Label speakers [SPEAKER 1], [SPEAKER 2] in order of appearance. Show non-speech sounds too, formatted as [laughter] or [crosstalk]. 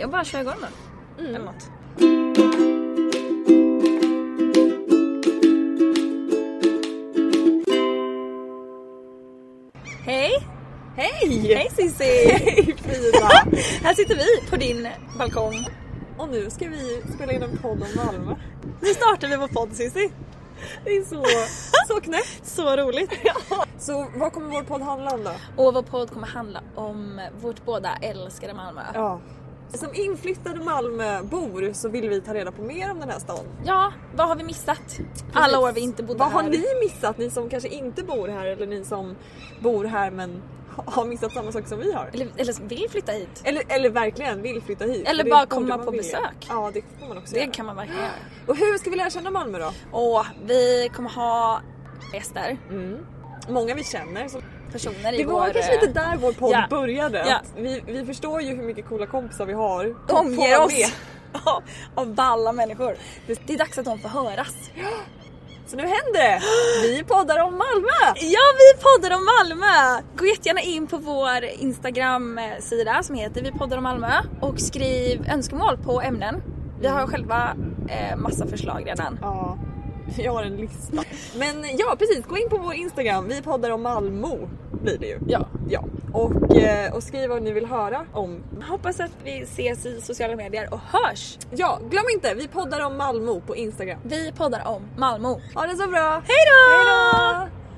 [SPEAKER 1] Jag bara kör igång då.
[SPEAKER 2] Mm.
[SPEAKER 1] Eller något. Hej!
[SPEAKER 2] Hej!
[SPEAKER 1] Hej Cissi!
[SPEAKER 2] Hej Frida!
[SPEAKER 1] [laughs] Här sitter vi på din balkong.
[SPEAKER 2] Och nu ska vi spela in en podd om Malmö.
[SPEAKER 1] Nu startar vi vår podd Cissi.
[SPEAKER 2] Det är så,
[SPEAKER 1] [laughs]
[SPEAKER 2] så knäppt.
[SPEAKER 1] Så roligt!
[SPEAKER 2] Så vad kommer vår podd handla om då?
[SPEAKER 1] Och vår podd kommer handla om vårt båda älskade Malmö.
[SPEAKER 2] Ja. Som inflyttade Malmöbor så vill vi ta reda på mer om den här stan.
[SPEAKER 1] Ja, vad har vi missat? Alla år vi inte bodde
[SPEAKER 2] Vad
[SPEAKER 1] här.
[SPEAKER 2] har ni missat? Ni som kanske inte bor här eller ni som bor här men ha- har missat samma sak som vi har.
[SPEAKER 1] Eller, eller vill flytta hit.
[SPEAKER 2] Eller, eller verkligen vill flytta hit.
[SPEAKER 1] Eller
[SPEAKER 2] För det
[SPEAKER 1] bara
[SPEAKER 2] borde
[SPEAKER 1] komma
[SPEAKER 2] man
[SPEAKER 1] på
[SPEAKER 2] vilja.
[SPEAKER 1] besök.
[SPEAKER 2] Ja det får man också
[SPEAKER 1] Det
[SPEAKER 2] göra.
[SPEAKER 1] kan man verkligen göra.
[SPEAKER 2] Och hur ska vi lära känna Malmö då?
[SPEAKER 1] Och vi kommer ha gäster,
[SPEAKER 2] Många vi känner. Som...
[SPEAKER 1] personer i
[SPEAKER 2] Det var
[SPEAKER 1] vår... eh,
[SPEAKER 2] kanske lite där vår podd
[SPEAKER 1] Ja.
[SPEAKER 2] började.
[SPEAKER 1] Ja.
[SPEAKER 2] Att Vi, vi förstår ju hur mycket coola kompisar vi har.
[SPEAKER 1] De omger
[SPEAKER 2] Får
[SPEAKER 1] [laughs]
[SPEAKER 2] vara
[SPEAKER 1] oss av- av balla människor. Det är dags att de får höras.
[SPEAKER 2] Så nu händer det! Vi poddar om Malmö!
[SPEAKER 1] Ja, vi poddar om Malmö! Gå jättegärna in på vår Instagram-sida som heter Vi poddar om Malmö och skriv önskemål på ämnen. Vi har själva eh, massa förslag redan.
[SPEAKER 2] Ja, jag har en lista. Men ja, precis. Gå in på vår Instagram. Vi poddar om Malmö blir det ju.
[SPEAKER 1] Ja.
[SPEAKER 2] Ja. Och, eh, och skriv vad ni vill höra om.
[SPEAKER 1] Hoppas att vi ses i sociala medier och hörs!
[SPEAKER 2] Ja, glöm inte. Vi poddar om Malmö på Instagram.
[SPEAKER 1] Vi poddar om Malmö.
[SPEAKER 2] Ha det så bra!
[SPEAKER 1] Hej då!
[SPEAKER 2] Hej då!